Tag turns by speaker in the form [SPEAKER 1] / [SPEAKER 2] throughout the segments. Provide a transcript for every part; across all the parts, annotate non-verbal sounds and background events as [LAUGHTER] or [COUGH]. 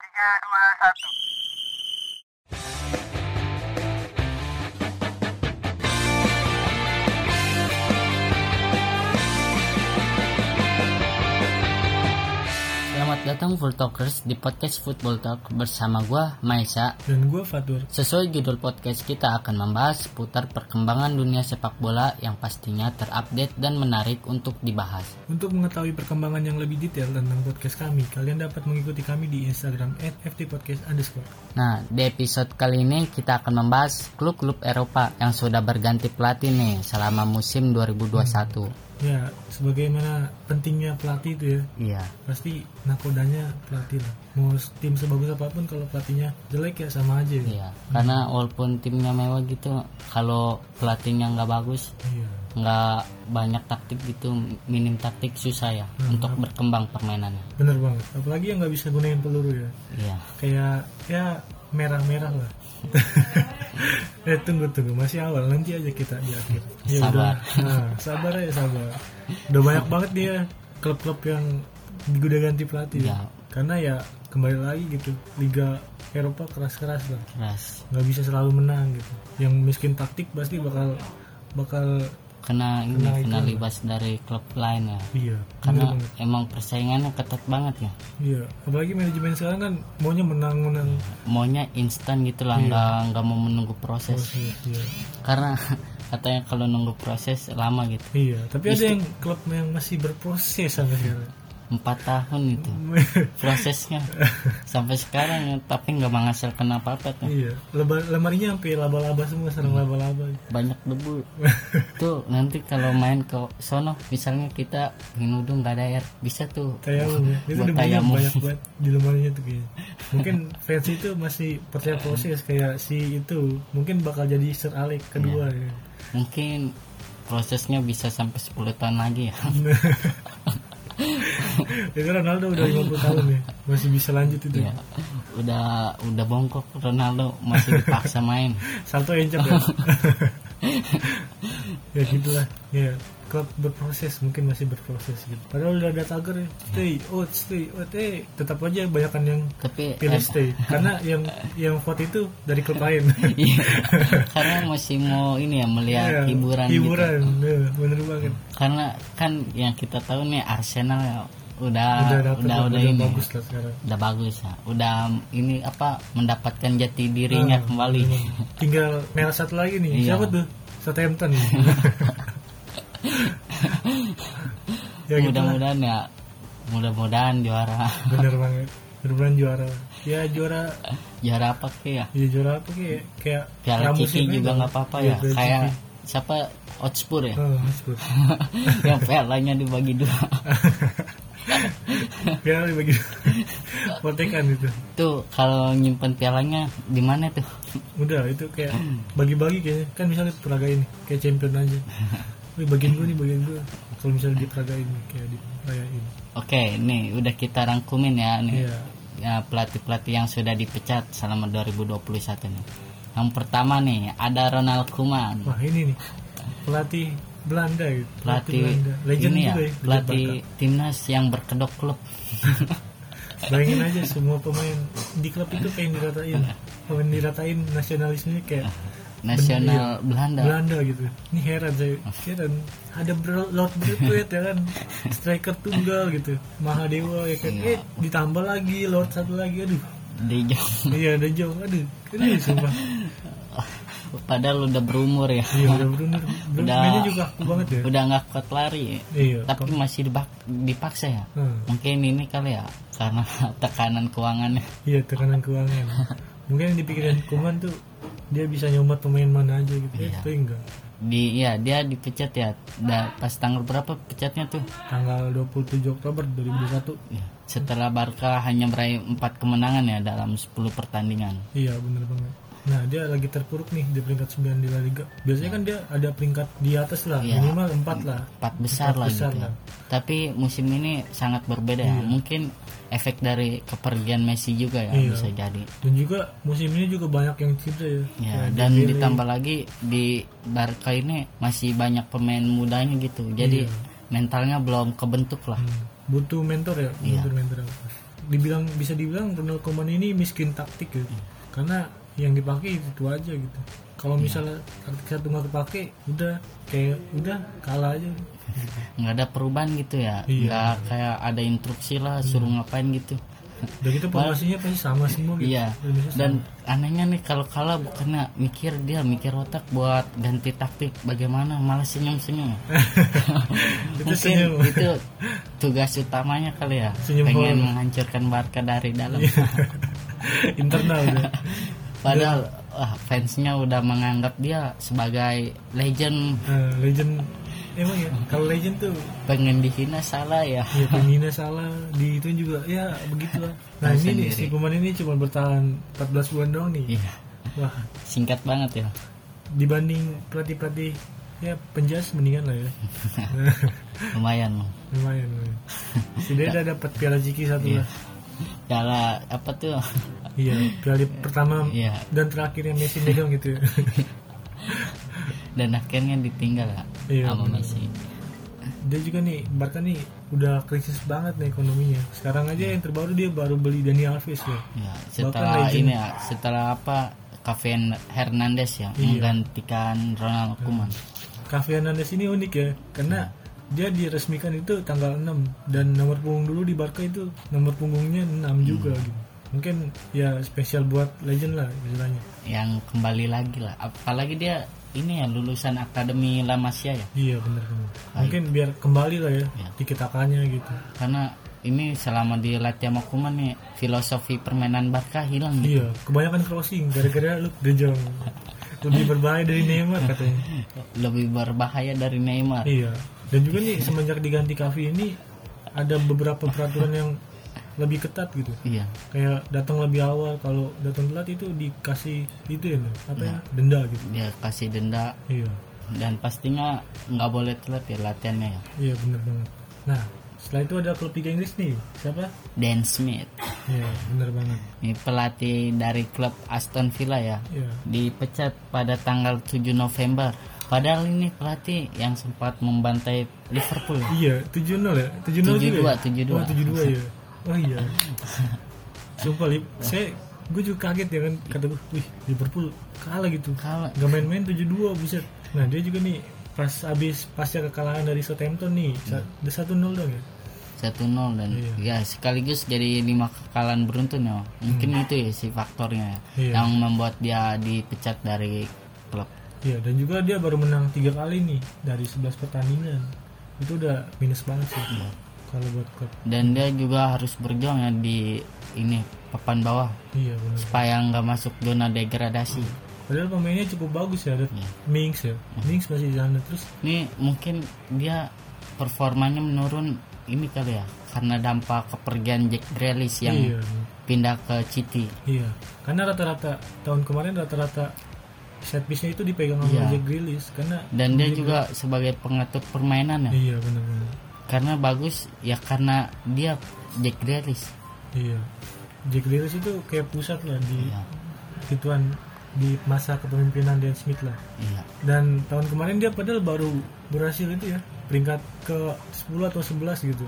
[SPEAKER 1] tiga dua satu
[SPEAKER 2] Selamat datang Full Talkers di podcast Football Talk bersama gua Maisa.
[SPEAKER 3] Dan gue Fatur.
[SPEAKER 2] Sesuai judul podcast kita akan membahas seputar perkembangan dunia sepak bola yang pastinya terupdate dan menarik untuk dibahas.
[SPEAKER 3] Untuk mengetahui perkembangan yang lebih detail tentang podcast kami, kalian dapat mengikuti kami di Instagram at ftpodcast underscore.
[SPEAKER 2] Nah, di episode kali ini kita akan membahas klub-klub Eropa yang sudah berganti pelatih nih selama musim 2021.
[SPEAKER 3] Ya, sebagaimana pentingnya pelatih itu ya,
[SPEAKER 2] Iya.
[SPEAKER 3] pasti nakodanya pelatih lah. Mau tim sebagus apapun kalau pelatihnya jelek ya sama aja. ya.
[SPEAKER 2] Iya, karena walaupun timnya mewah gitu, kalau pelatihnya nggak bagus,
[SPEAKER 3] Iya.
[SPEAKER 2] nggak banyak taktik gitu, minim taktik susah ya untuk berkembang permainannya.
[SPEAKER 3] Bener banget. Apalagi yang nggak bisa gunain peluru ya.
[SPEAKER 2] Iya.
[SPEAKER 3] Kayak ya merah-merah lah.
[SPEAKER 2] [LAUGHS]
[SPEAKER 3] eh tunggu tunggu masih awal nanti aja kita di akhir. Ya
[SPEAKER 2] Sabar.
[SPEAKER 3] udah. Nah, sabar aja sabar. Udah banyak banget dia klub-klub yang udah ganti pelatih.
[SPEAKER 2] Ya.
[SPEAKER 3] Karena ya kembali lagi gitu Liga Eropa keras-keras lah.
[SPEAKER 2] keras
[SPEAKER 3] Nggak bisa selalu menang gitu. Yang miskin taktik pasti bakal bakal
[SPEAKER 2] kena ini kena libas dari klub lain ya
[SPEAKER 3] iya.
[SPEAKER 2] karena
[SPEAKER 3] bener banget.
[SPEAKER 2] emang persaingannya ketat banget ya
[SPEAKER 3] Iya. Apalagi manajemen sekarang kan maunya menang-menang.
[SPEAKER 2] maunya instan gitu lah nggak nggak mau menunggu proses
[SPEAKER 3] Iya.
[SPEAKER 2] karena [LAUGHS] katanya kalau nunggu proses lama gitu
[SPEAKER 3] Iya, tapi ada yang klub yang masih berproses sampai sekarang.
[SPEAKER 2] [LAUGHS] empat tahun itu prosesnya
[SPEAKER 3] [LAUGHS]
[SPEAKER 2] sampai sekarang ya, tapi nggak menghasilkan apa apa tuh
[SPEAKER 3] iya, lebar, lemarinya sampai laba-laba semua sarang
[SPEAKER 2] Hmm.
[SPEAKER 3] laba-laba.
[SPEAKER 2] banyak
[SPEAKER 3] [LAUGHS]
[SPEAKER 2] debu tuh nanti kalau main ke sono misalnya kita minudung nggak ada air bisa tuh
[SPEAKER 3] Tayamum ya, itu
[SPEAKER 2] Buat
[SPEAKER 3] debunya
[SPEAKER 2] tayamum.
[SPEAKER 3] banyak banget di lemarinya tuh
[SPEAKER 2] [LAUGHS]
[SPEAKER 3] kayaknya. Mungkin fans itu masih percaya proses kayak si itu mungkin bakal jadi Sir Alex kedua
[SPEAKER 2] Iya.
[SPEAKER 3] ya.
[SPEAKER 2] mungkin prosesnya bisa sampai 10 tahun lagi ya
[SPEAKER 3] ya. Itu Ronaldo udah
[SPEAKER 2] Iya.
[SPEAKER 3] 50 tahun ya, masih bisa lanjut itu.
[SPEAKER 2] ya udah udah bongkok Ronaldo masih
[SPEAKER 3] [LAUGHS]
[SPEAKER 2] dipaksa main
[SPEAKER 3] Salto encok
[SPEAKER 2] [LAUGHS]
[SPEAKER 3] ya. ya gitulah. Ya, klub berproses mungkin masih berproses gitu. Padahal udah ada tagar ya, stay out, stay out, eh tetap aja banyakan yang
[SPEAKER 2] tapi
[SPEAKER 3] pilih
[SPEAKER 2] eh, [LAUGHS]
[SPEAKER 3] stay karena yang yang vote itu dari klub lain.
[SPEAKER 2] iya. karena masih mau ini ya melihat
[SPEAKER 3] [LAUGHS] Ya,
[SPEAKER 2] hiburan, gitu
[SPEAKER 3] Hiburan, ya, bener banget.
[SPEAKER 2] karena kan yang kita tahu nih Arsenal ya, udah udah udah,
[SPEAKER 3] udah dapet lah, udah
[SPEAKER 2] ini
[SPEAKER 3] bagus lah sekarang.
[SPEAKER 2] udah bagus ya udah ini apa mendapatkan jati dirinya
[SPEAKER 3] Ah,
[SPEAKER 2] kembali [LAUGHS]
[SPEAKER 3] Tinggal merah satu lagi nih.
[SPEAKER 2] Iya.
[SPEAKER 3] Siapa tuh? Southampton.
[SPEAKER 2] [LAUGHS]
[SPEAKER 3] [LAUGHS] ya gitu lah.
[SPEAKER 2] mudah-mudahan ya mudah-mudahan juara [LAUGHS]
[SPEAKER 3] bener banget beneran juara ya juara
[SPEAKER 2] juara apa sih ya
[SPEAKER 3] ya juara apa kayak kayak
[SPEAKER 2] Piala
[SPEAKER 3] Rambut
[SPEAKER 2] Ciki
[SPEAKER 3] siapa
[SPEAKER 2] juga
[SPEAKER 3] itu?
[SPEAKER 2] nggak apa-apa
[SPEAKER 3] Iya,
[SPEAKER 2] ya
[SPEAKER 3] Piala
[SPEAKER 2] kayak
[SPEAKER 3] Ciki.
[SPEAKER 2] siapa Hotspur
[SPEAKER 3] [LAUGHS]
[SPEAKER 2] ya
[SPEAKER 3] Oh, Hotspur.
[SPEAKER 2] yang pialanya dibagi dua
[SPEAKER 3] Piala dibagi
[SPEAKER 2] [LAUGHS]
[SPEAKER 3] dua. Potekan itu.
[SPEAKER 2] tuh kalau nyimpen pialanya di mana tuh
[SPEAKER 3] Udah itu kayak bagi-bagi kayaknya. Kan misalnya peragain kayak champion
[SPEAKER 2] [LAUGHS]
[SPEAKER 3] aja. Wih, bagian gue nih, bagian gue. Kalau misalnya diperagain nih, kayak dirayain.
[SPEAKER 2] oke nih udah kita rangkumin ya nih
[SPEAKER 3] Iya.
[SPEAKER 2] Ya, pelatih-pelatih yang sudah dipecat selama 2021 nih yang pertama nih ada Ronald Koeman
[SPEAKER 3] Wah, ini nih. Pelatih Belanda gitu.
[SPEAKER 2] pelatih
[SPEAKER 3] Belanda. Legend
[SPEAKER 2] ini ya
[SPEAKER 3] juga ya. legend
[SPEAKER 2] pelatih
[SPEAKER 3] Belanda.
[SPEAKER 2] timnas yang berkedok
[SPEAKER 3] [LAUGHS]
[SPEAKER 2] klub
[SPEAKER 3] Bayangin aja semua pemain di klub itu pengen
[SPEAKER 2] [LAUGHS]
[SPEAKER 3] diratain. Pengen diratain nasionalismenya kayak
[SPEAKER 2] nasional Belanda
[SPEAKER 3] iya. Belanda gitu. Ini heran saya, heran. Ada Bro- Lord Braithwaite ya kan, striker tunggal gitu, Mahadewa ya kan. Eh, ditambah lagi Lord satu lagi, aduh.
[SPEAKER 2] di
[SPEAKER 3] Iya, ada jauh, aduh. Aduh, sumpah.
[SPEAKER 2] padahal udah berumur ya
[SPEAKER 3] Iya, udah berundur. Belum
[SPEAKER 2] Udah.
[SPEAKER 3] mainnya juga aku banget ya.
[SPEAKER 2] udah nggak kuat lari
[SPEAKER 3] Iya.
[SPEAKER 2] tapi masih dibak- dipaksa ya
[SPEAKER 3] Hmm.
[SPEAKER 2] mungkin ini kali ya karena [LAUGHS] tekanan keuangannya
[SPEAKER 3] Iya, tekanan keuangan. Mungkin yang dipikirin Kuman tuh dia bisa nyomat pemain mana aja gitu. Eh, tapi enggak.
[SPEAKER 2] di ya dia dipecat ya Da- pas tanggal berapa pecatnya tuh
[SPEAKER 3] Tanggal 27 Oktober 2021.
[SPEAKER 2] Ya, setelah Barca hanya meraih 4 kemenangan ya dalam 10 pertandingan
[SPEAKER 3] Iya bener banget Nah dia lagi terpuruk nih di peringkat 9 di La Liga Biasanya kan dia ada peringkat di atas lah
[SPEAKER 2] Iya.
[SPEAKER 3] Minimal 4 lah
[SPEAKER 2] empat besar
[SPEAKER 3] Empat
[SPEAKER 2] lah
[SPEAKER 3] besar
[SPEAKER 2] gitu ya.
[SPEAKER 3] lah.
[SPEAKER 2] tapi musim ini sangat berbeda ya mungkin efek dari kepergian Messi juga ya
[SPEAKER 3] Iya.
[SPEAKER 2] bisa jadi
[SPEAKER 3] Dan juga musim ini juga banyak yang cedera ya
[SPEAKER 2] Ya,
[SPEAKER 3] Kayak
[SPEAKER 2] dan
[SPEAKER 3] Dembele.
[SPEAKER 2] ditambah lagi di Barca ini masih banyak pemain mudanya
[SPEAKER 3] Iya.
[SPEAKER 2] gitu. Jadi mentalnya belum kebentuk lah.
[SPEAKER 3] Butuh mentor ya
[SPEAKER 2] Iya.
[SPEAKER 3] Butuh mentor yang pas. dibilang bisa dibilang Ronald Koeman ini miskin taktik
[SPEAKER 2] Iya.
[SPEAKER 3] gitu karena yang dipakai itu, itu aja gitu kalau
[SPEAKER 2] Iya.
[SPEAKER 3] misalnya taktik satu nggak kepake udah kayak udah kalah aja
[SPEAKER 2] nggak ada perubahan gitu ya
[SPEAKER 3] Hmm. Iya.
[SPEAKER 2] nggak kayak ada instruksi lah suruh ngapain gitu
[SPEAKER 3] udah gitu formasinya pasti sama semua gitu
[SPEAKER 2] iya
[SPEAKER 3] Indonesia sama.
[SPEAKER 2] dan anehnya nih kalau kalah bukannya mikir dia mikir otak buat ganti taktik bagaimana malah senyum senyum
[SPEAKER 3] [LAUGHS] Itu
[SPEAKER 2] mungkin
[SPEAKER 3] senyum.
[SPEAKER 2] itu tugas utamanya kali ya
[SPEAKER 3] Senyum
[SPEAKER 2] pengen
[SPEAKER 3] horor. Iya.
[SPEAKER 2] menghancurkan Barca dari dalam
[SPEAKER 3] [LAUGHS] internal ya. udah
[SPEAKER 2] padahal wah, fansnya udah menganggap dia sebagai legend
[SPEAKER 3] Nah, legend emang ya kalau legend tuh
[SPEAKER 2] pengen dihina salah ya
[SPEAKER 3] ya pembina salah di itu juga ya begitulah
[SPEAKER 2] Tahu
[SPEAKER 3] nah ini nih,
[SPEAKER 2] sendiri.
[SPEAKER 3] si Koeman ini cuma bertahan 14 bulan doang nih
[SPEAKER 2] Iya,
[SPEAKER 3] wah
[SPEAKER 2] singkat banget ya
[SPEAKER 3] dibanding pelatih-pelatih ya penjas mendingan
[SPEAKER 2] [LAUGHS]
[SPEAKER 3] lah ya
[SPEAKER 2] lumayan
[SPEAKER 3] lumayan, lumayan. si Deda dapat piala Ciki satu
[SPEAKER 2] Iya.
[SPEAKER 3] lah
[SPEAKER 2] Piala apa tuh [LAUGHS]
[SPEAKER 3] iya piala pertama
[SPEAKER 2] Iya.
[SPEAKER 3] dan terakhir yang Messi megang
[SPEAKER 2] [LAUGHS]
[SPEAKER 3] gitu ya
[SPEAKER 2] dan akhirnya ditinggal lah
[SPEAKER 3] Iya,
[SPEAKER 2] sama
[SPEAKER 3] benar.
[SPEAKER 2] Messi
[SPEAKER 3] dia juga nih Barca nih udah krisis banget nih ekonominya sekarang aja
[SPEAKER 2] Iya.
[SPEAKER 3] yang terbaru dia baru beli Dani Alves ya
[SPEAKER 2] ya setelah
[SPEAKER 3] legend.
[SPEAKER 2] ini ya setelah apa Kevin Hernandez ya
[SPEAKER 3] Iya.
[SPEAKER 2] menggantikan Ronald Koeman
[SPEAKER 3] Cafe Hernandez ini unik ya karena dia diresmikan itu tanggal 6 dan nomor punggung dulu di Barca itu nomor punggungnya 6 juga gitu. Mungkin ya spesial buat legend lah istilahnya.
[SPEAKER 2] yang kembali lagi lah apalagi dia ini ya lulusan akademi La Masia ya
[SPEAKER 3] Iya benar benar. Mungkin biar kembali lah ya
[SPEAKER 2] Iya.
[SPEAKER 3] di kitakannya gitu.
[SPEAKER 2] karena ini selama dilatih sama Koeman nih filosofi permainan Barca hilang gitu.
[SPEAKER 3] Iya, kebanyakan crossing gara-gara lu De Jong. Lebih berbahaya dari Neymar katanya.
[SPEAKER 2] lebih berbahaya dari Neymar
[SPEAKER 3] Iya. Dan juga nih semenjak diganti Cafe ini ada beberapa peraturan yang lebih ketat gitu.
[SPEAKER 2] iya
[SPEAKER 3] kayak datang lebih awal kalau datang telat itu dikasih itu ya Mel, apa ya denda gitu
[SPEAKER 2] dia kasih denda
[SPEAKER 3] iya
[SPEAKER 2] dan pastinya nggak boleh telat ya latihannya ya
[SPEAKER 3] iya bener banget nah setelah itu ada klub Liga Inggris nih siapa
[SPEAKER 2] Dan Smith
[SPEAKER 3] iya bener banget
[SPEAKER 2] ini pelatih dari klub Aston Villa ya
[SPEAKER 3] iya
[SPEAKER 2] dipecat pada tanggal 7 November padahal ini pelatih yang sempat membantai Liverpool
[SPEAKER 3] iya tujuh nol ya tujuh nol juga
[SPEAKER 2] 72, 72.
[SPEAKER 3] tujuh dua ya oh [LAUGHS] iya sumpah Lip, saya gue juga kaget ya kan kata gue wih Liverpool kalah gitu
[SPEAKER 2] kalau
[SPEAKER 3] nggak main-main 72 buset nah dia juga nih pas abis pasca kekalahan dari Southampton nih sa- ada satu nol dong ya
[SPEAKER 2] 1-0 dan
[SPEAKER 3] Iya.
[SPEAKER 2] ya sekaligus jadi lima kekalahan beruntun ya mungkin itu ya si faktornya ya,
[SPEAKER 3] Hmm. Iya.
[SPEAKER 2] yang membuat dia dipecat dari klub
[SPEAKER 3] Iya dan juga dia baru menang tiga kali nih dari 11 pertandingan itu udah minus banget sih
[SPEAKER 2] Iya.
[SPEAKER 3] kalau buat klub
[SPEAKER 2] dan dia juga harus berjuang ya di ini papan bawah
[SPEAKER 3] iya benar
[SPEAKER 2] supaya nggak masuk zona degradasi
[SPEAKER 3] padahal pemainnya cukup bagus ya ada
[SPEAKER 2] Iya.
[SPEAKER 3] Mings ya Mings masih di sana terus
[SPEAKER 2] ini mungkin dia performanya menurun ini kali ya karena dampak kepergian Jack Grealish yang
[SPEAKER 3] iya
[SPEAKER 2] pindah ke City
[SPEAKER 3] iya karena rata-rata tahun kemarin rata-rata set piece-nya itu dipegang sama
[SPEAKER 2] Iya.
[SPEAKER 3] Jack Grealish karena
[SPEAKER 2] dan dia juga sebagai pengatur permainan ya
[SPEAKER 3] iya benar-benar
[SPEAKER 2] karena bagus ya karena dia Jack Grealish
[SPEAKER 3] iya Jack Grealish itu kayak pusat lah di
[SPEAKER 2] Iya.
[SPEAKER 3] gituan di masa kepemimpinan Dan Smith lah
[SPEAKER 2] iya
[SPEAKER 3] dan tahun kemarin dia padahal baru berhasil itu ya peringkat ke 10 atau 11 gitu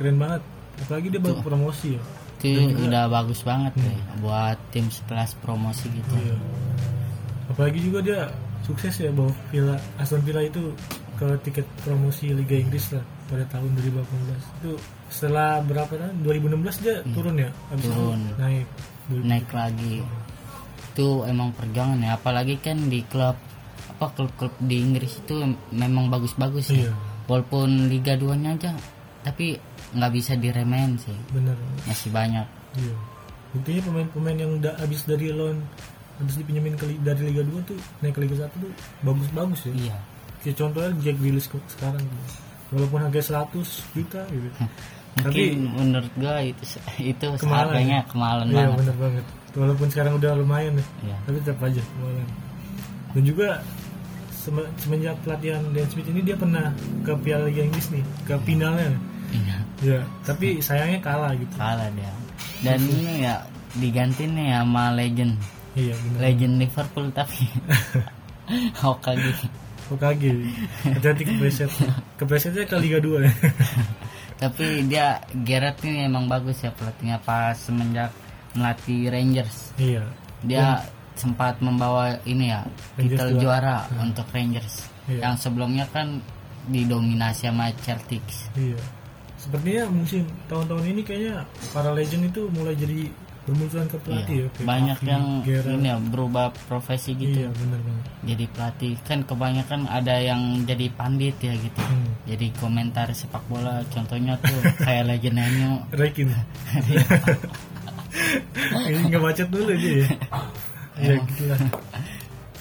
[SPEAKER 3] keren banget apalagi dia baru promosi ya
[SPEAKER 2] itu udah bagus banget ya buat tim sekelas promosi gitu
[SPEAKER 3] iya. apalagi juga dia sukses ya bawa Villa Aston Villa itu ke tiket promosi Liga Inggris lah pada tahun 2018 itu setelah berapa tahun 2016 dia turun ya abis itu
[SPEAKER 2] Hmm. Turun.
[SPEAKER 3] naik
[SPEAKER 2] naik lagi itu emang perjuangan ya apalagi kan di klub apa klub-klub di Inggris itu em- memang bagus-bagus ya
[SPEAKER 3] iya
[SPEAKER 2] walaupun Liga 2 nya aja tapi nggak bisa diremehin sih
[SPEAKER 3] bener
[SPEAKER 2] masih banyak
[SPEAKER 3] iya intinya pemain-pemain yang da- abis dari loan abis dipinjemin ke li- dari Liga 2 tuh naik ke Liga 1 tuh bagus-bagus ya
[SPEAKER 2] iya
[SPEAKER 3] Kayak contohnya Jack Grealish ke- sekarang gitu. Walaupun harga 100 juta gitu.
[SPEAKER 2] mungkin
[SPEAKER 3] Tapi
[SPEAKER 2] menurut gua itu se- itu
[SPEAKER 3] Kemahalan
[SPEAKER 2] harganya kemahalan
[SPEAKER 3] iya
[SPEAKER 2] banget
[SPEAKER 3] bener banget. Walaupun sekarang udah lumayan ya.
[SPEAKER 2] Iya.
[SPEAKER 3] Tapi tetap aja lumayan. Dan juga seme- semenjak pelatihan Dan Smith ini dia pernah ke Piala Liga Inggris nih, ke finalnya.
[SPEAKER 2] iya
[SPEAKER 3] Ya, tapi sayangnya kalah gitu.
[SPEAKER 2] kalah dia dan ini ya diganti nih sama legend
[SPEAKER 3] Iya bener.
[SPEAKER 2] legend Liverpool
[SPEAKER 3] [LAUGHS]
[SPEAKER 2] tapi Hokage
[SPEAKER 3] OKG. Hati-hati kepleset. Keplesetnya ke Liga 2 ya.
[SPEAKER 2] tapi dia Gerrard ini emang bagus ya pelatihnya pas semenjak melatih Rangers
[SPEAKER 3] Iya.
[SPEAKER 2] dia sempat membawa ini ya
[SPEAKER 3] Rangers
[SPEAKER 2] titel juara untuk Rangers
[SPEAKER 3] Iya.
[SPEAKER 2] yang sebelumnya kan didominasi sama Celtics
[SPEAKER 3] Iya. Sepertinya musim tahun-tahun ini kayaknya para legend itu mulai jadi bermunculan ke pelatih ya. kayak
[SPEAKER 2] Iya, banyak
[SPEAKER 3] Afi,
[SPEAKER 2] yang
[SPEAKER 3] Gerrard.
[SPEAKER 2] ini ya berubah profesi gitu
[SPEAKER 3] Iya benar banget.
[SPEAKER 2] jadi pelatih kan kebanyakan ada yang jadi pandit ya gitu
[SPEAKER 3] Hmm.
[SPEAKER 2] jadi komentar sepak bola contohnya
[SPEAKER 3] [LAUGHS]
[SPEAKER 2] tuh kayak legend MU
[SPEAKER 3] Rekin.
[SPEAKER 2] Iya.
[SPEAKER 3] Ini nggak macet dulu
[SPEAKER 2] Iya.
[SPEAKER 3] dia. Ya, ya gitu lah.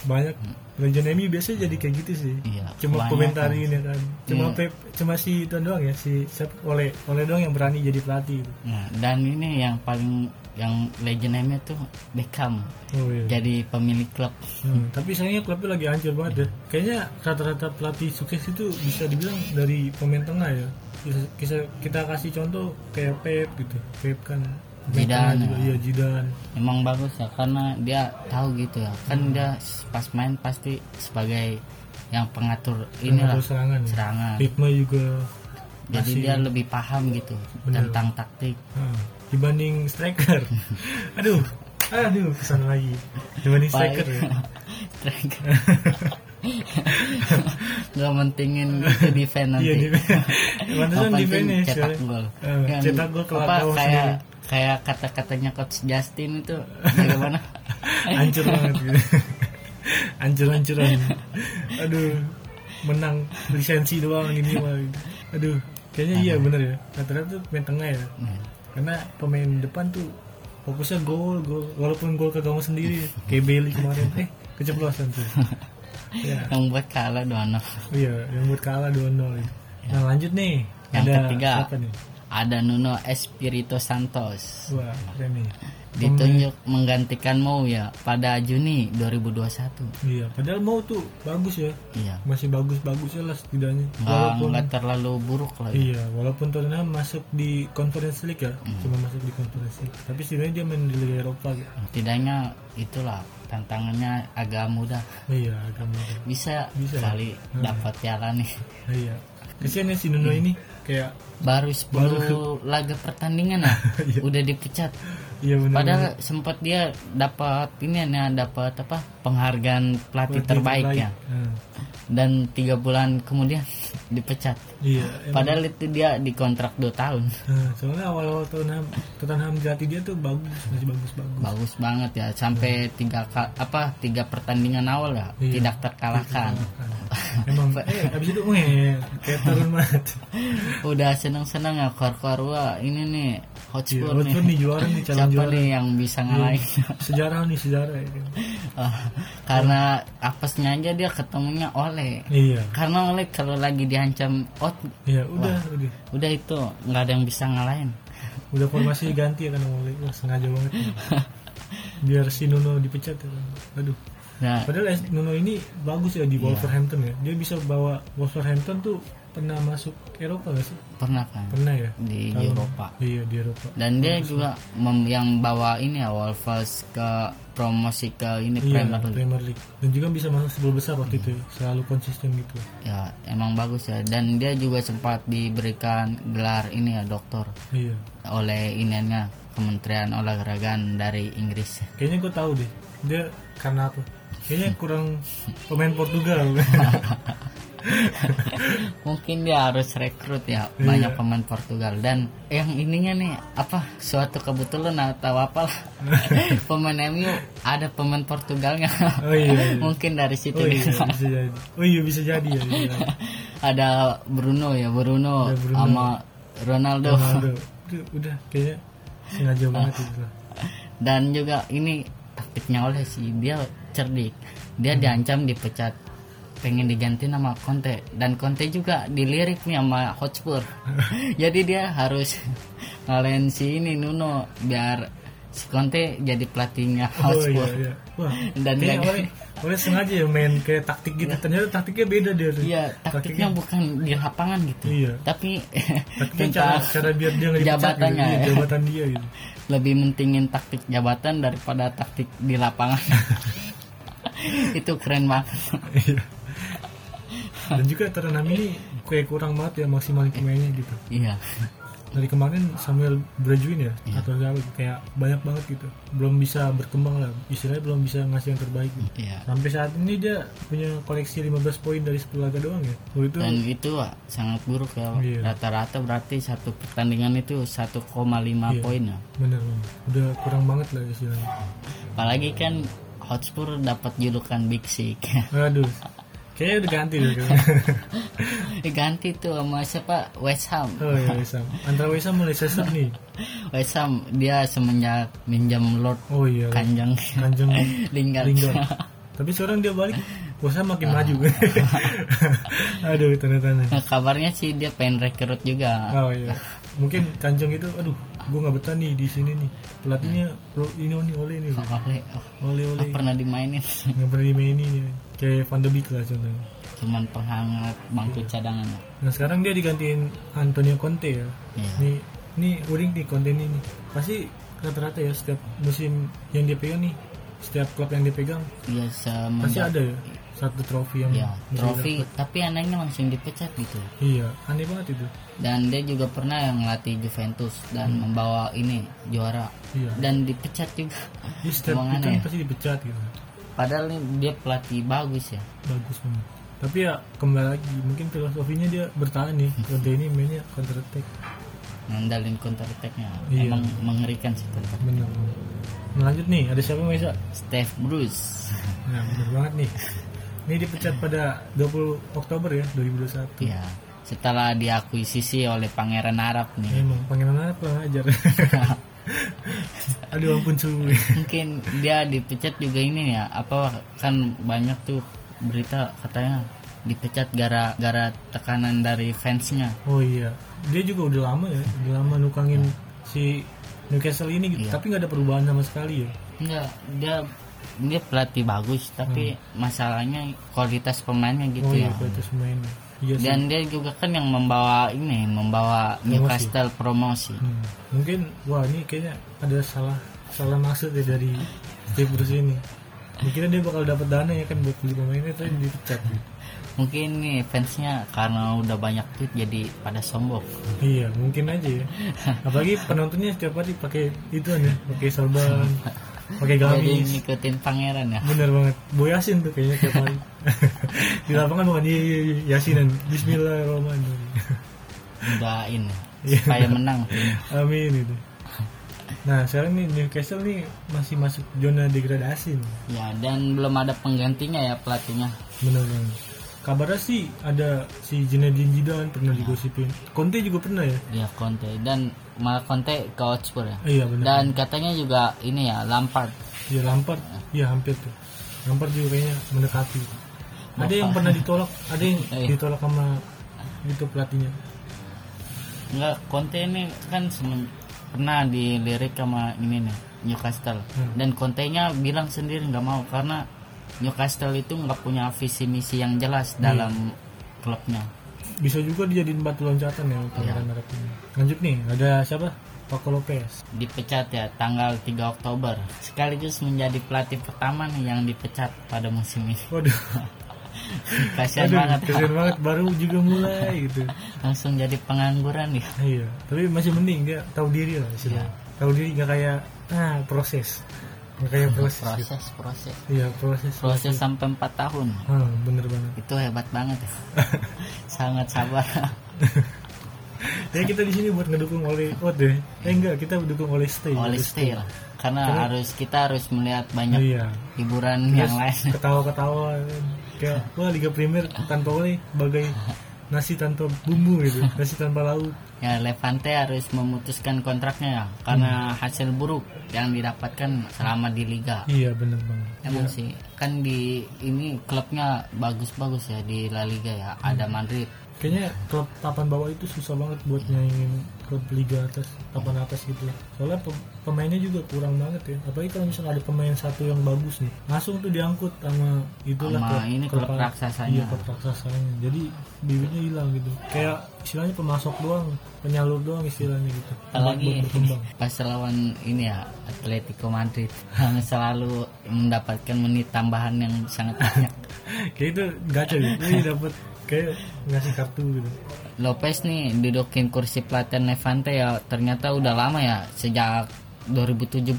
[SPEAKER 3] Banyak legend MU biasanya jadi kayak gitu sih.
[SPEAKER 2] Iya,
[SPEAKER 3] cuma
[SPEAKER 2] kebanyakan.
[SPEAKER 3] komentarin ya kan. Cuma
[SPEAKER 2] Iya.
[SPEAKER 3] Pep, cuma si itu doang ya si siapa oleh oleh doang yang berani jadi pelatih. Gitu.
[SPEAKER 2] nah, dan ini yang paling yang legend MU tuh Beckham
[SPEAKER 3] Oh iya.
[SPEAKER 2] jadi pemilik klub
[SPEAKER 3] Hmm, tapi sayangnya klubnya lagi hancur banget ya. Kayaknya rata-rata pelatih sukses itu bisa dibilang dari pemain tengah ya. Bisa- bisa- kita kasih contoh kayak Pep gitu. Pep kan pemain
[SPEAKER 2] Zidane
[SPEAKER 3] tengah juga.
[SPEAKER 2] ya.
[SPEAKER 3] Iya Zidane.
[SPEAKER 2] emang bagus ya karena dia tahu gitu ya kan
[SPEAKER 3] Iya.
[SPEAKER 2] dia pas main pasti sebagai yang pengatur inilah
[SPEAKER 3] Pengatur serangan. ya.
[SPEAKER 2] serangan
[SPEAKER 3] Ritme juga
[SPEAKER 2] jadi
[SPEAKER 3] masih-
[SPEAKER 2] dia lebih paham gitu
[SPEAKER 3] Bener.
[SPEAKER 2] tentang taktik
[SPEAKER 3] Ah, dibanding
[SPEAKER 2] [LAUGHS]
[SPEAKER 3] striker. aduh, aduh kesana lagi. Dibanding
[SPEAKER 2] Baik.
[SPEAKER 3] striker
[SPEAKER 2] [LAUGHS]
[SPEAKER 3] ya.
[SPEAKER 2] striker [LAUGHS] nggak mentingin itu defense nanti
[SPEAKER 3] Iya, defense. [LAUGHS] Pantesan
[SPEAKER 2] Yang penting
[SPEAKER 3] defense ya,
[SPEAKER 2] cetak
[SPEAKER 3] soalnya.
[SPEAKER 2] gol
[SPEAKER 3] Eh,
[SPEAKER 2] Yang
[SPEAKER 3] cetak gol keluar
[SPEAKER 2] apa
[SPEAKER 3] gawang
[SPEAKER 2] kayak kayak kata-katanya coach Justin itu bagaimana
[SPEAKER 3] hancur banget gitu.
[SPEAKER 2] [LAUGHS]
[SPEAKER 3] hancur hancuran aduh menang lisensi doang ini mah gitu. aduh kayaknya iya bener ya rata-rata tuh pemain tengah ya
[SPEAKER 2] Nah,
[SPEAKER 3] karena pemain depan tuh fokusnya gol gol walaupun gol ke gawang sendiri
[SPEAKER 2] [LAUGHS]
[SPEAKER 3] kayak Bailey kemarin eh keceplosan tuh ya
[SPEAKER 2] yang buat kalah doang
[SPEAKER 3] iya yang buat kalah 2-0 itu. nah lanjut nih
[SPEAKER 2] Ya. Yang
[SPEAKER 3] ada
[SPEAKER 2] ketiga.
[SPEAKER 3] siapa nih
[SPEAKER 2] ada Nuno Espirito Santos
[SPEAKER 3] wah keren nih
[SPEAKER 2] ditunjuk menggantikan Mou ya pada Juni 2021
[SPEAKER 3] iya padahal mau tuh bagus ya
[SPEAKER 2] iya
[SPEAKER 3] masih bagus-bagusnya lah setidaknya
[SPEAKER 2] nggak nggak terlalu buruk lah ya.
[SPEAKER 3] Iya, walaupun Tottenham masuk di Conference League ya, cuma masuk di Conference League. Tapi setidaknya dia main di Liga Eropa. gitu.
[SPEAKER 2] setidaknya itulah tantangannya agak mudah
[SPEAKER 3] Iya, agak mudah.
[SPEAKER 2] bisa,
[SPEAKER 3] Bisa. ya? Hmm.
[SPEAKER 2] kali dapat piala nih
[SPEAKER 3] Iya. Kesian ya si Nuno ini kayak
[SPEAKER 2] baru 10 laga pertandingan
[SPEAKER 3] [LAUGHS]
[SPEAKER 2] ya udah dipecat
[SPEAKER 3] iya benar.
[SPEAKER 2] padahal sempat dia dapat ini ya dapat apa penghargaan pelatih, terbaik, ya
[SPEAKER 3] Hmm.
[SPEAKER 2] dan tiga bulan kemudian [LAUGHS] dipecat
[SPEAKER 3] Iya. emang.
[SPEAKER 2] padahal itu dia dikontrak 2 tahun
[SPEAKER 3] Nah, soalnya awal-awal Tottenham Tottenham jati dia tuh bagus, masih
[SPEAKER 2] [LAUGHS]
[SPEAKER 3] bagus-bagus.
[SPEAKER 2] bagus banget ya sampai tiga ka- apa tiga pertandingan awal ya
[SPEAKER 3] Iya.
[SPEAKER 2] tidak terkalahkan
[SPEAKER 3] Emang eh habis itu eh kayak turun
[SPEAKER 2] [LAUGHS]
[SPEAKER 3] banget.
[SPEAKER 2] udah seneng-seneng ya kor wah ini nih
[SPEAKER 3] Iya,
[SPEAKER 2] Hotspur nih
[SPEAKER 3] walaupun nih juara nih
[SPEAKER 2] ya.
[SPEAKER 3] calon
[SPEAKER 2] siapa
[SPEAKER 3] juara.
[SPEAKER 2] nih yang bisa ngalahin
[SPEAKER 3] Sejarah nih sejarah ya kan.
[SPEAKER 2] Ah, karena apesnya aja dia ketemunya oleh
[SPEAKER 3] Iya.
[SPEAKER 2] karena oleh kalau lagi diancam out
[SPEAKER 3] Iya, udah, udah.
[SPEAKER 2] udah itu nggak ada yang bisa ngalahin
[SPEAKER 3] udah formasi ganti ya kan mulai wah sengaja
[SPEAKER 2] [LAUGHS]
[SPEAKER 3] banget ya. biar si Nuno dipecat ya kan. aduh
[SPEAKER 2] nah
[SPEAKER 3] padahal es- Nuno ini bagus ya di
[SPEAKER 2] Iya.
[SPEAKER 3] Wolverhampton ya dia bisa bawa Wolverhampton tuh pernah masuk Eropa gak sih
[SPEAKER 2] pernah kan
[SPEAKER 3] pernah ya
[SPEAKER 2] di
[SPEAKER 3] Tahun-
[SPEAKER 2] Eropa
[SPEAKER 3] iya di Eropa
[SPEAKER 2] dan dia juga mem- yang bawa ini ya Wolves ke promosi ke ini
[SPEAKER 3] iya
[SPEAKER 2] Premier League Iya.
[SPEAKER 3] Premier League dan juga bisa masuk sepuluh besar waktu itu ya. selalu konsisten gitu
[SPEAKER 2] ya emang bagus ya dan dia juga sempat diberikan gelar ini ya doktor
[SPEAKER 3] iya
[SPEAKER 2] oleh iniannya Kementerian Olahragaan dari Inggris
[SPEAKER 3] kayaknya gue tahu deh dia karena apa kayaknya kurang pemain
[SPEAKER 2] [LAUGHS]
[SPEAKER 3] Portugal
[SPEAKER 2] mungkin dia harus rekrut ya
[SPEAKER 3] Iya.
[SPEAKER 2] banyak pemain Portugal dan yang ininya nih apa suatu kebetulan atau
[SPEAKER 3] [LAUGHS]
[SPEAKER 2] apalah pemain MU ada pemain Portugalnya
[SPEAKER 3] oh iya, iya.
[SPEAKER 2] mungkin dari situ
[SPEAKER 3] oh
[SPEAKER 2] dia
[SPEAKER 3] iya bisa jadi oh iya bisa jadi ya bisa jadi.
[SPEAKER 2] ada Bruno ya Bruno,
[SPEAKER 3] Ada Bruno.
[SPEAKER 2] sama Ronaldo
[SPEAKER 3] Ronaldo. Udah, udah kayaknya sengaja
[SPEAKER 2] Ah,
[SPEAKER 3] banget itu lah.
[SPEAKER 2] dan juga ini taktiknya oleh sih dia cerdik dia
[SPEAKER 3] Hmm.
[SPEAKER 2] diancam dipecat pengen diganti nama Conte dan Conte juga dilirik nih sama
[SPEAKER 3] [LAUGHS]
[SPEAKER 2] Hotspur jadi dia harus ngalahin si ini Nuno biar si Conte jadi pelatihnya
[SPEAKER 3] Oh iya
[SPEAKER 2] Hotspur
[SPEAKER 3] iya. Wah,
[SPEAKER 2] ah, Dan
[SPEAKER 3] kayaknya
[SPEAKER 2] dia-
[SPEAKER 3] oleh oleh sengaja ya main kayak taktik gitu. Ternyata taktiknya beda dia. tuh.
[SPEAKER 2] iya taktiknya bukan di lapangan gitu
[SPEAKER 3] Iya.
[SPEAKER 2] tapi
[SPEAKER 3] Taktiknya cara,
[SPEAKER 2] tentang
[SPEAKER 3] cara biar dia nggak dipecat gitu.
[SPEAKER 2] jabatannya
[SPEAKER 3] Iya,
[SPEAKER 2] ya.
[SPEAKER 3] jabatan dia gitu.
[SPEAKER 2] lebih mentingin taktik jabatan daripada taktik di
[SPEAKER 3] [LAUGHS]
[SPEAKER 2] lapangan itu keren banget
[SPEAKER 3] Iya. dan juga Tottenham ini kayak kurang banget ya maksimalin pemainnya gitu
[SPEAKER 2] iya
[SPEAKER 3] dari kemarin Samuel Brajuin ya atau siapa gitu, kayak banyak banget gitu belum bisa berkembang lah istilahnya belum bisa ngasih yang terbaik gitu.
[SPEAKER 2] iya
[SPEAKER 3] sampai saat ini dia punya koleksi 15 poin dari 10 laga doang ya waktu itu
[SPEAKER 2] dan itu Wak, sangat buruk ya Wak.
[SPEAKER 3] Iya.
[SPEAKER 2] rata-rata berarti satu pertandingan itu 1,5
[SPEAKER 3] Iya.
[SPEAKER 2] poin ya
[SPEAKER 3] bener banget udah kurang banget lah istilahnya
[SPEAKER 2] apalagi kan Hotspur dapat julukan Big Six [LAUGHS]
[SPEAKER 3] aduh kayaknya udah ganti deh
[SPEAKER 2] ganti tuh sama siapa West Ham
[SPEAKER 3] oh iya Wesam antara Wesam mulai sesat nih
[SPEAKER 2] West Ham dia semenjak minjam Lord
[SPEAKER 3] oh iya
[SPEAKER 2] Kanjeng [LAUGHS]
[SPEAKER 3] Kanjeng
[SPEAKER 2] Lingard
[SPEAKER 3] Lingard tapi sekarang dia balik Wesam makin maju [LAUGHS] aduh tanda-tanda
[SPEAKER 2] Nah, [LAUGHS] kabarnya sih dia pengen rekrut juga
[SPEAKER 3] Oh iya. Mungkin Kanjeng itu aduh, gue nggak betah nih di sini nih. Pelatihnya pro ini ini ole nih.
[SPEAKER 2] oleh oh,
[SPEAKER 3] Ole ole.
[SPEAKER 2] pernah dimainin [LAUGHS]
[SPEAKER 3] Nggak pernah dimainin nih. Kayak Van de Beek lah contohnya.
[SPEAKER 2] cuman penghangat bangku cadangan
[SPEAKER 3] Nah sekarang dia digantiin Antonio Conte ya.
[SPEAKER 2] Iya.
[SPEAKER 3] Nih, nih uring nih Conte ini nih. Pasti rata-rata ya setiap musim yang dia pegang nih, setiap klub yang dia pegang
[SPEAKER 2] dia
[SPEAKER 3] pasti
[SPEAKER 2] semenjak
[SPEAKER 3] ada ya satu Hmm. trofi yang
[SPEAKER 2] ya
[SPEAKER 3] mesti
[SPEAKER 2] trofi
[SPEAKER 3] dapat.
[SPEAKER 2] tapi anehnya langsung dipecat gitu
[SPEAKER 3] Iya, aneh banget itu.
[SPEAKER 2] dan dia juga pernah yang ngelatih Juventus dan membawa ini juara
[SPEAKER 3] Iya.
[SPEAKER 2] dan dipecat juga
[SPEAKER 3] Dia setiap
[SPEAKER 2] Emang
[SPEAKER 3] itu
[SPEAKER 2] aneh ya?
[SPEAKER 3] pasti dipecat gitu.
[SPEAKER 2] padahal nih dia pelatih bagus ya
[SPEAKER 3] bagus banget tapi ya kembali lagi mungkin filosofinya dia bertahan
[SPEAKER 2] [LAUGHS]
[SPEAKER 3] nih Conte ini mainnya counter attack
[SPEAKER 2] ngandalin counter attack-nya
[SPEAKER 3] Iya.
[SPEAKER 2] emang mengerikan sih counter.
[SPEAKER 3] bener Nah, lanjut nih ada siapa Mesa
[SPEAKER 2] Steve Bruce [LAUGHS]
[SPEAKER 3] nah bener banget nih ini dipecat pada 20 Oktober ya 2021
[SPEAKER 2] ya setelah diakuisisi oleh pangeran Arab nih
[SPEAKER 3] Iya, emang pengenalan apa ajar aduh ampun suwe
[SPEAKER 2] mungkin dia dipecat juga ini ya apa kan banyak tuh berita katanya dipecat gara-gara tekanan dari fansnya
[SPEAKER 3] oh iya dia juga udah lama ya udah lama nukangin si Newcastle ini gitu
[SPEAKER 2] Iya.
[SPEAKER 3] tapi nggak ada perubahan sama sekali ya
[SPEAKER 2] enggak dia dia pelatih bagus tapi masalahnya kualitas pemainnya gitu
[SPEAKER 3] Hmm. oh iya
[SPEAKER 2] ya
[SPEAKER 3] kualitas pemain iya sih.
[SPEAKER 2] dan dia juga kan yang membawa ini membawa Newcastle promosi
[SPEAKER 3] Hmm, mungkin wah ini kayaknya ada salah salah maksud ya dari Steve Bruce ini mikirnya dia bakal dapat dana ya kan buat beli pemainnya tapi dipecat gitu.
[SPEAKER 2] mungkin nih fansnya karena udah banyak tweet jadi pada sombong
[SPEAKER 3] iya mungkin aja ya apalagi penontonnya setiap hari pakai itu ya pakai sorban pakai
[SPEAKER 2] jadi
[SPEAKER 3] gamis
[SPEAKER 2] ngikutin pangeran ya
[SPEAKER 3] [LAUGHS] bener banget boyasin tuh kayaknya tiap
[SPEAKER 2] [LAUGHS]
[SPEAKER 3] hari di lapangan bukan iya iya iya, yasinan Bismillahirrahmanirrahim
[SPEAKER 2] doain
[SPEAKER 3] Iya.
[SPEAKER 2] supaya menang
[SPEAKER 3] amin itu nah sekarang nih Newcastle nih masih masuk zona degradasi nih.
[SPEAKER 2] ya dan belum ada penggantinya ya pelatihnya
[SPEAKER 3] benar benar kabarnya sih ada si Zinedine Zidane pernah digosipin Conte juga pernah ya
[SPEAKER 2] ya Conte dan malah Conte ke Hotspur ya
[SPEAKER 3] Eh, iya benar
[SPEAKER 2] dan katanya juga ini ya Lampard
[SPEAKER 3] ya Lampard iya hampir tuh Lampard juga kayaknya mendekati ada yang pernah ditolak ada yang
[SPEAKER 2] Iya.
[SPEAKER 3] ditolak sama itu pelatihnya
[SPEAKER 2] Enggak, Conte ini kan semen- pernah dilirik sama ini nih Newcastle
[SPEAKER 3] Hmm.
[SPEAKER 2] dan Conte-nya bilang sendiri nggak mau karena Newcastle itu nggak punya visi misi yang jelas dalam klubnya.
[SPEAKER 3] bisa juga dijadiin batu loncatan ya
[SPEAKER 2] Iya.
[SPEAKER 3] pangeran Arab ini lanjut nih ada siapa Paco Lopez
[SPEAKER 2] Dipecat ya tanggal 3 Oktober sekaligus menjadi pelatih pertama nih yang dipecat pada musim ini.
[SPEAKER 3] [LAUGHS] waduh
[SPEAKER 2] [LAUGHS] Kasihan
[SPEAKER 3] aduh
[SPEAKER 2] banget.
[SPEAKER 3] keren banget baru juga mulai
[SPEAKER 2] [LAUGHS]
[SPEAKER 3] gitu
[SPEAKER 2] Langsung jadi pengangguran ya.
[SPEAKER 3] iya tapi masih mending dia tahu diri
[SPEAKER 2] Iya.
[SPEAKER 3] lah istilahnya tahu diri nggak kayak ah proses nggak
[SPEAKER 2] [LAUGHS]
[SPEAKER 3] kayak proses gitu.
[SPEAKER 2] Proses, proses.
[SPEAKER 3] Iya proses.
[SPEAKER 2] Proses sampai 4 tahun.
[SPEAKER 3] Hmm, bener banget.
[SPEAKER 2] Itu hebat banget ya. Sangat sabar.
[SPEAKER 3] Ya kita di sini buat ngedukung oleh Ot deh. Eh enggak, kita dukung oleh Stay.
[SPEAKER 2] Iya. oleh stay lah Iya, karena harus kita harus melihat banyak
[SPEAKER 3] Iya.
[SPEAKER 2] hiburan yang lain [LAUGHS]
[SPEAKER 3] Ketawa-ketawa. kan. Kayak wah Liga Primer tanpa oleh bagai
[SPEAKER 2] [LAUGHS]
[SPEAKER 3] nasi tanpa bumbu gitu, nasi tanpa lauk.
[SPEAKER 2] ya Levante harus memutuskan kontraknya ya karena
[SPEAKER 3] Hmm.
[SPEAKER 2] hasil buruk yang didapatkan selama di liga
[SPEAKER 3] Iya bener banget.
[SPEAKER 2] emang sih kan di ini klubnya bagus-bagus ya di La Liga ya
[SPEAKER 3] Hmm.
[SPEAKER 2] ada Madrid
[SPEAKER 3] Kayaknya klub papan bawah itu susah banget buat nyaingin klub liga atas, papan atas gitu. Soalnya pe- pemainnya juga kurang banget ya. Apalagi kalau misalnya ada pemain satu yang bagus nih, langsung tuh diangkut sama itulah
[SPEAKER 2] sama ini klub
[SPEAKER 3] atas.
[SPEAKER 2] raksasanya
[SPEAKER 3] Iya klub raksasanya. Jadi bibitnya hilang gitu. Kayak istilahnya pemasok doang, penyalur doang istilahnya gitu.
[SPEAKER 2] apalagi
[SPEAKER 3] Buat berkembang.
[SPEAKER 2] [LAUGHS] pas lawan ini ya Atletico Madrid [LAUGHS] yang selalu mendapatkan menit tambahan yang sangat banyak
[SPEAKER 3] Kayak itu gacha gitu. Ini dapat kayak ngasih kartu gitu
[SPEAKER 2] Lopez nih dudukin kursi pelatihan Levante ya ternyata udah lama ya sejak 2017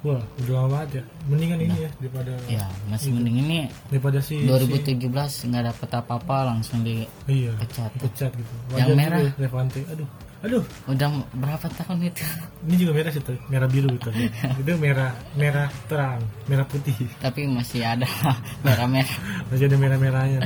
[SPEAKER 3] wah udah lama banget ya mendingan ini ya daripada
[SPEAKER 2] ya masih mending ini
[SPEAKER 3] daripada si
[SPEAKER 2] 2017 nggak dapet apa-apa langsung dipecat
[SPEAKER 3] si- iya pecat gitu
[SPEAKER 2] Yang
[SPEAKER 3] juga
[SPEAKER 2] merah.
[SPEAKER 3] ya, Levante aduh aduh
[SPEAKER 2] udah berapa tahun itu [LAUGHS]
[SPEAKER 3] ini juga merah sih tuh merah biru gitu itu merah merah terang merah putih
[SPEAKER 2] tapi masih ada [LAUGHS] merah-merah
[SPEAKER 3] masih ada merah merahnya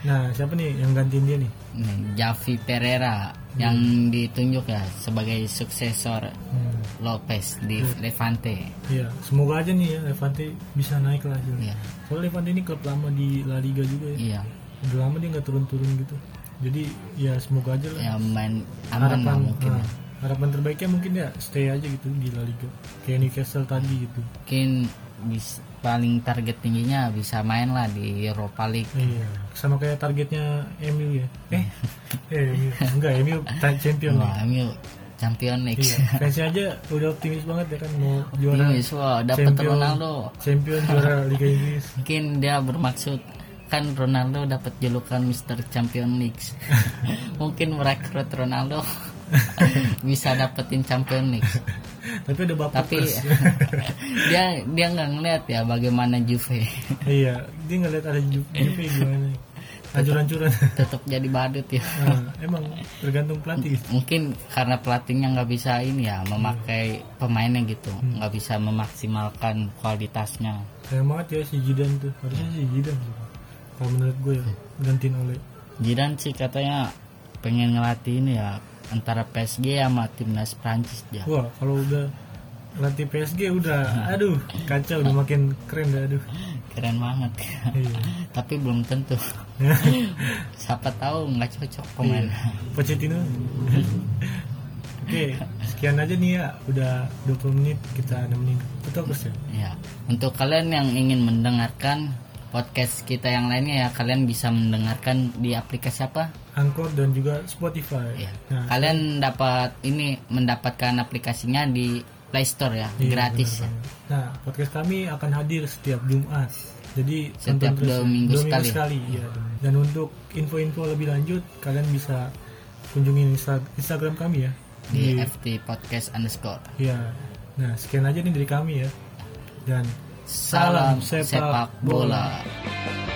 [SPEAKER 3] nah siapa nih yang gantiin dia nih
[SPEAKER 2] Nih, Javi Pereira yang ditunjuk ya sebagai suksesor
[SPEAKER 3] Hmm,
[SPEAKER 2] Lopez di Levante
[SPEAKER 3] Iya, semoga aja nih ya Levante bisa naik lah hasilnya.
[SPEAKER 2] Iya.
[SPEAKER 3] Soalnya Levante ini klub lama di La Liga juga ya.
[SPEAKER 2] iya
[SPEAKER 3] Udah lama dia nggak turun-turun gitu. Jadi ya semoga aja lah.
[SPEAKER 2] ya main aman lah mungkin ya.
[SPEAKER 3] nah, harapan terbaiknya mungkin ya stay aja gitu di La Liga. Kayak Newcastle tadi gitu.
[SPEAKER 2] mungkin bis- paling target tingginya bisa main lah di Europa League
[SPEAKER 3] Iya, sama kayak targetnya MU ya. Eh, eh MU. enggak MU ta- champion nih.
[SPEAKER 2] wah MU Champion League
[SPEAKER 3] Iya, fansnya aja udah optimis banget ya kan mau juara
[SPEAKER 2] Optimis, wah dapat
[SPEAKER 3] Champion.
[SPEAKER 2] Ronaldo
[SPEAKER 3] champion juara Liga Inggris.
[SPEAKER 2] mungkin dia bermaksud kan Ronaldo dapat julukan Mr. Champion League
[SPEAKER 3] [LAUGHS]
[SPEAKER 2] mungkin merekrut Ronaldo bisa dapetin Champion League
[SPEAKER 3] Tapi ada bapak
[SPEAKER 2] tapi [LAUGHS] dia dia nggak ngeliat ya bagaimana Juve
[SPEAKER 3] iya dia ngeliat ada Ju- Juve gimana hancur-hancuran
[SPEAKER 2] tetap jadi badut ya
[SPEAKER 3] Nah, emang tergantung pelatih
[SPEAKER 2] mungkin karena pelatihnya nggak bisa ini ya memakai pemainnya gitu
[SPEAKER 3] Hmm.
[SPEAKER 2] nggak bisa memaksimalkan kualitasnya
[SPEAKER 3] sayang banget ya si Jidan tuh harusnya si Jidan tuh kalau menurut gue ya gantiin oleh
[SPEAKER 2] Jidan sih katanya pengen ngelatih ini ya antara PSG sama timnas Prancis ya
[SPEAKER 3] wah kalau udah latih PSG udah aduh kacau udah makin keren dah aduh
[SPEAKER 2] keren banget [LAUGHS]
[SPEAKER 3] iya
[SPEAKER 2] tapi belum tentu [LAUGHS]
[SPEAKER 3] [LAUGHS]
[SPEAKER 2] siapa tahu nggak cocok pemain
[SPEAKER 3] Iya.
[SPEAKER 2] [LAUGHS]
[SPEAKER 3] Pochettino Oke, sekian aja nih ya. Udah 20 menit kita nemenin Putokers ya.
[SPEAKER 2] Ya, untuk kalian yang ingin mendengarkan podcast kita yang lainnya ya kalian bisa mendengarkan di aplikasi apa?
[SPEAKER 3] Angkor dan juga Spotify.
[SPEAKER 2] Ya.
[SPEAKER 3] Nah,
[SPEAKER 2] Kalian dapat ini mendapatkan aplikasinya di Play Store ya,
[SPEAKER 3] Iya,
[SPEAKER 2] gratis. ya.
[SPEAKER 3] benar banget. Nah, podcast kami akan hadir setiap Jumat. Jadi
[SPEAKER 2] Setiap
[SPEAKER 3] tonton terus
[SPEAKER 2] dua
[SPEAKER 3] ya.
[SPEAKER 2] minggu
[SPEAKER 3] Dua
[SPEAKER 2] sekali.
[SPEAKER 3] iya. Dan untuk info-info lebih lanjut, kalian bisa kunjungi Insta- Instagram kami ya.
[SPEAKER 2] Di FT Podcast underscore.
[SPEAKER 3] Iya. Nah, sekian aja nih dari kami ya. Dan
[SPEAKER 2] Salam
[SPEAKER 3] Salam sepak
[SPEAKER 2] sepak bola.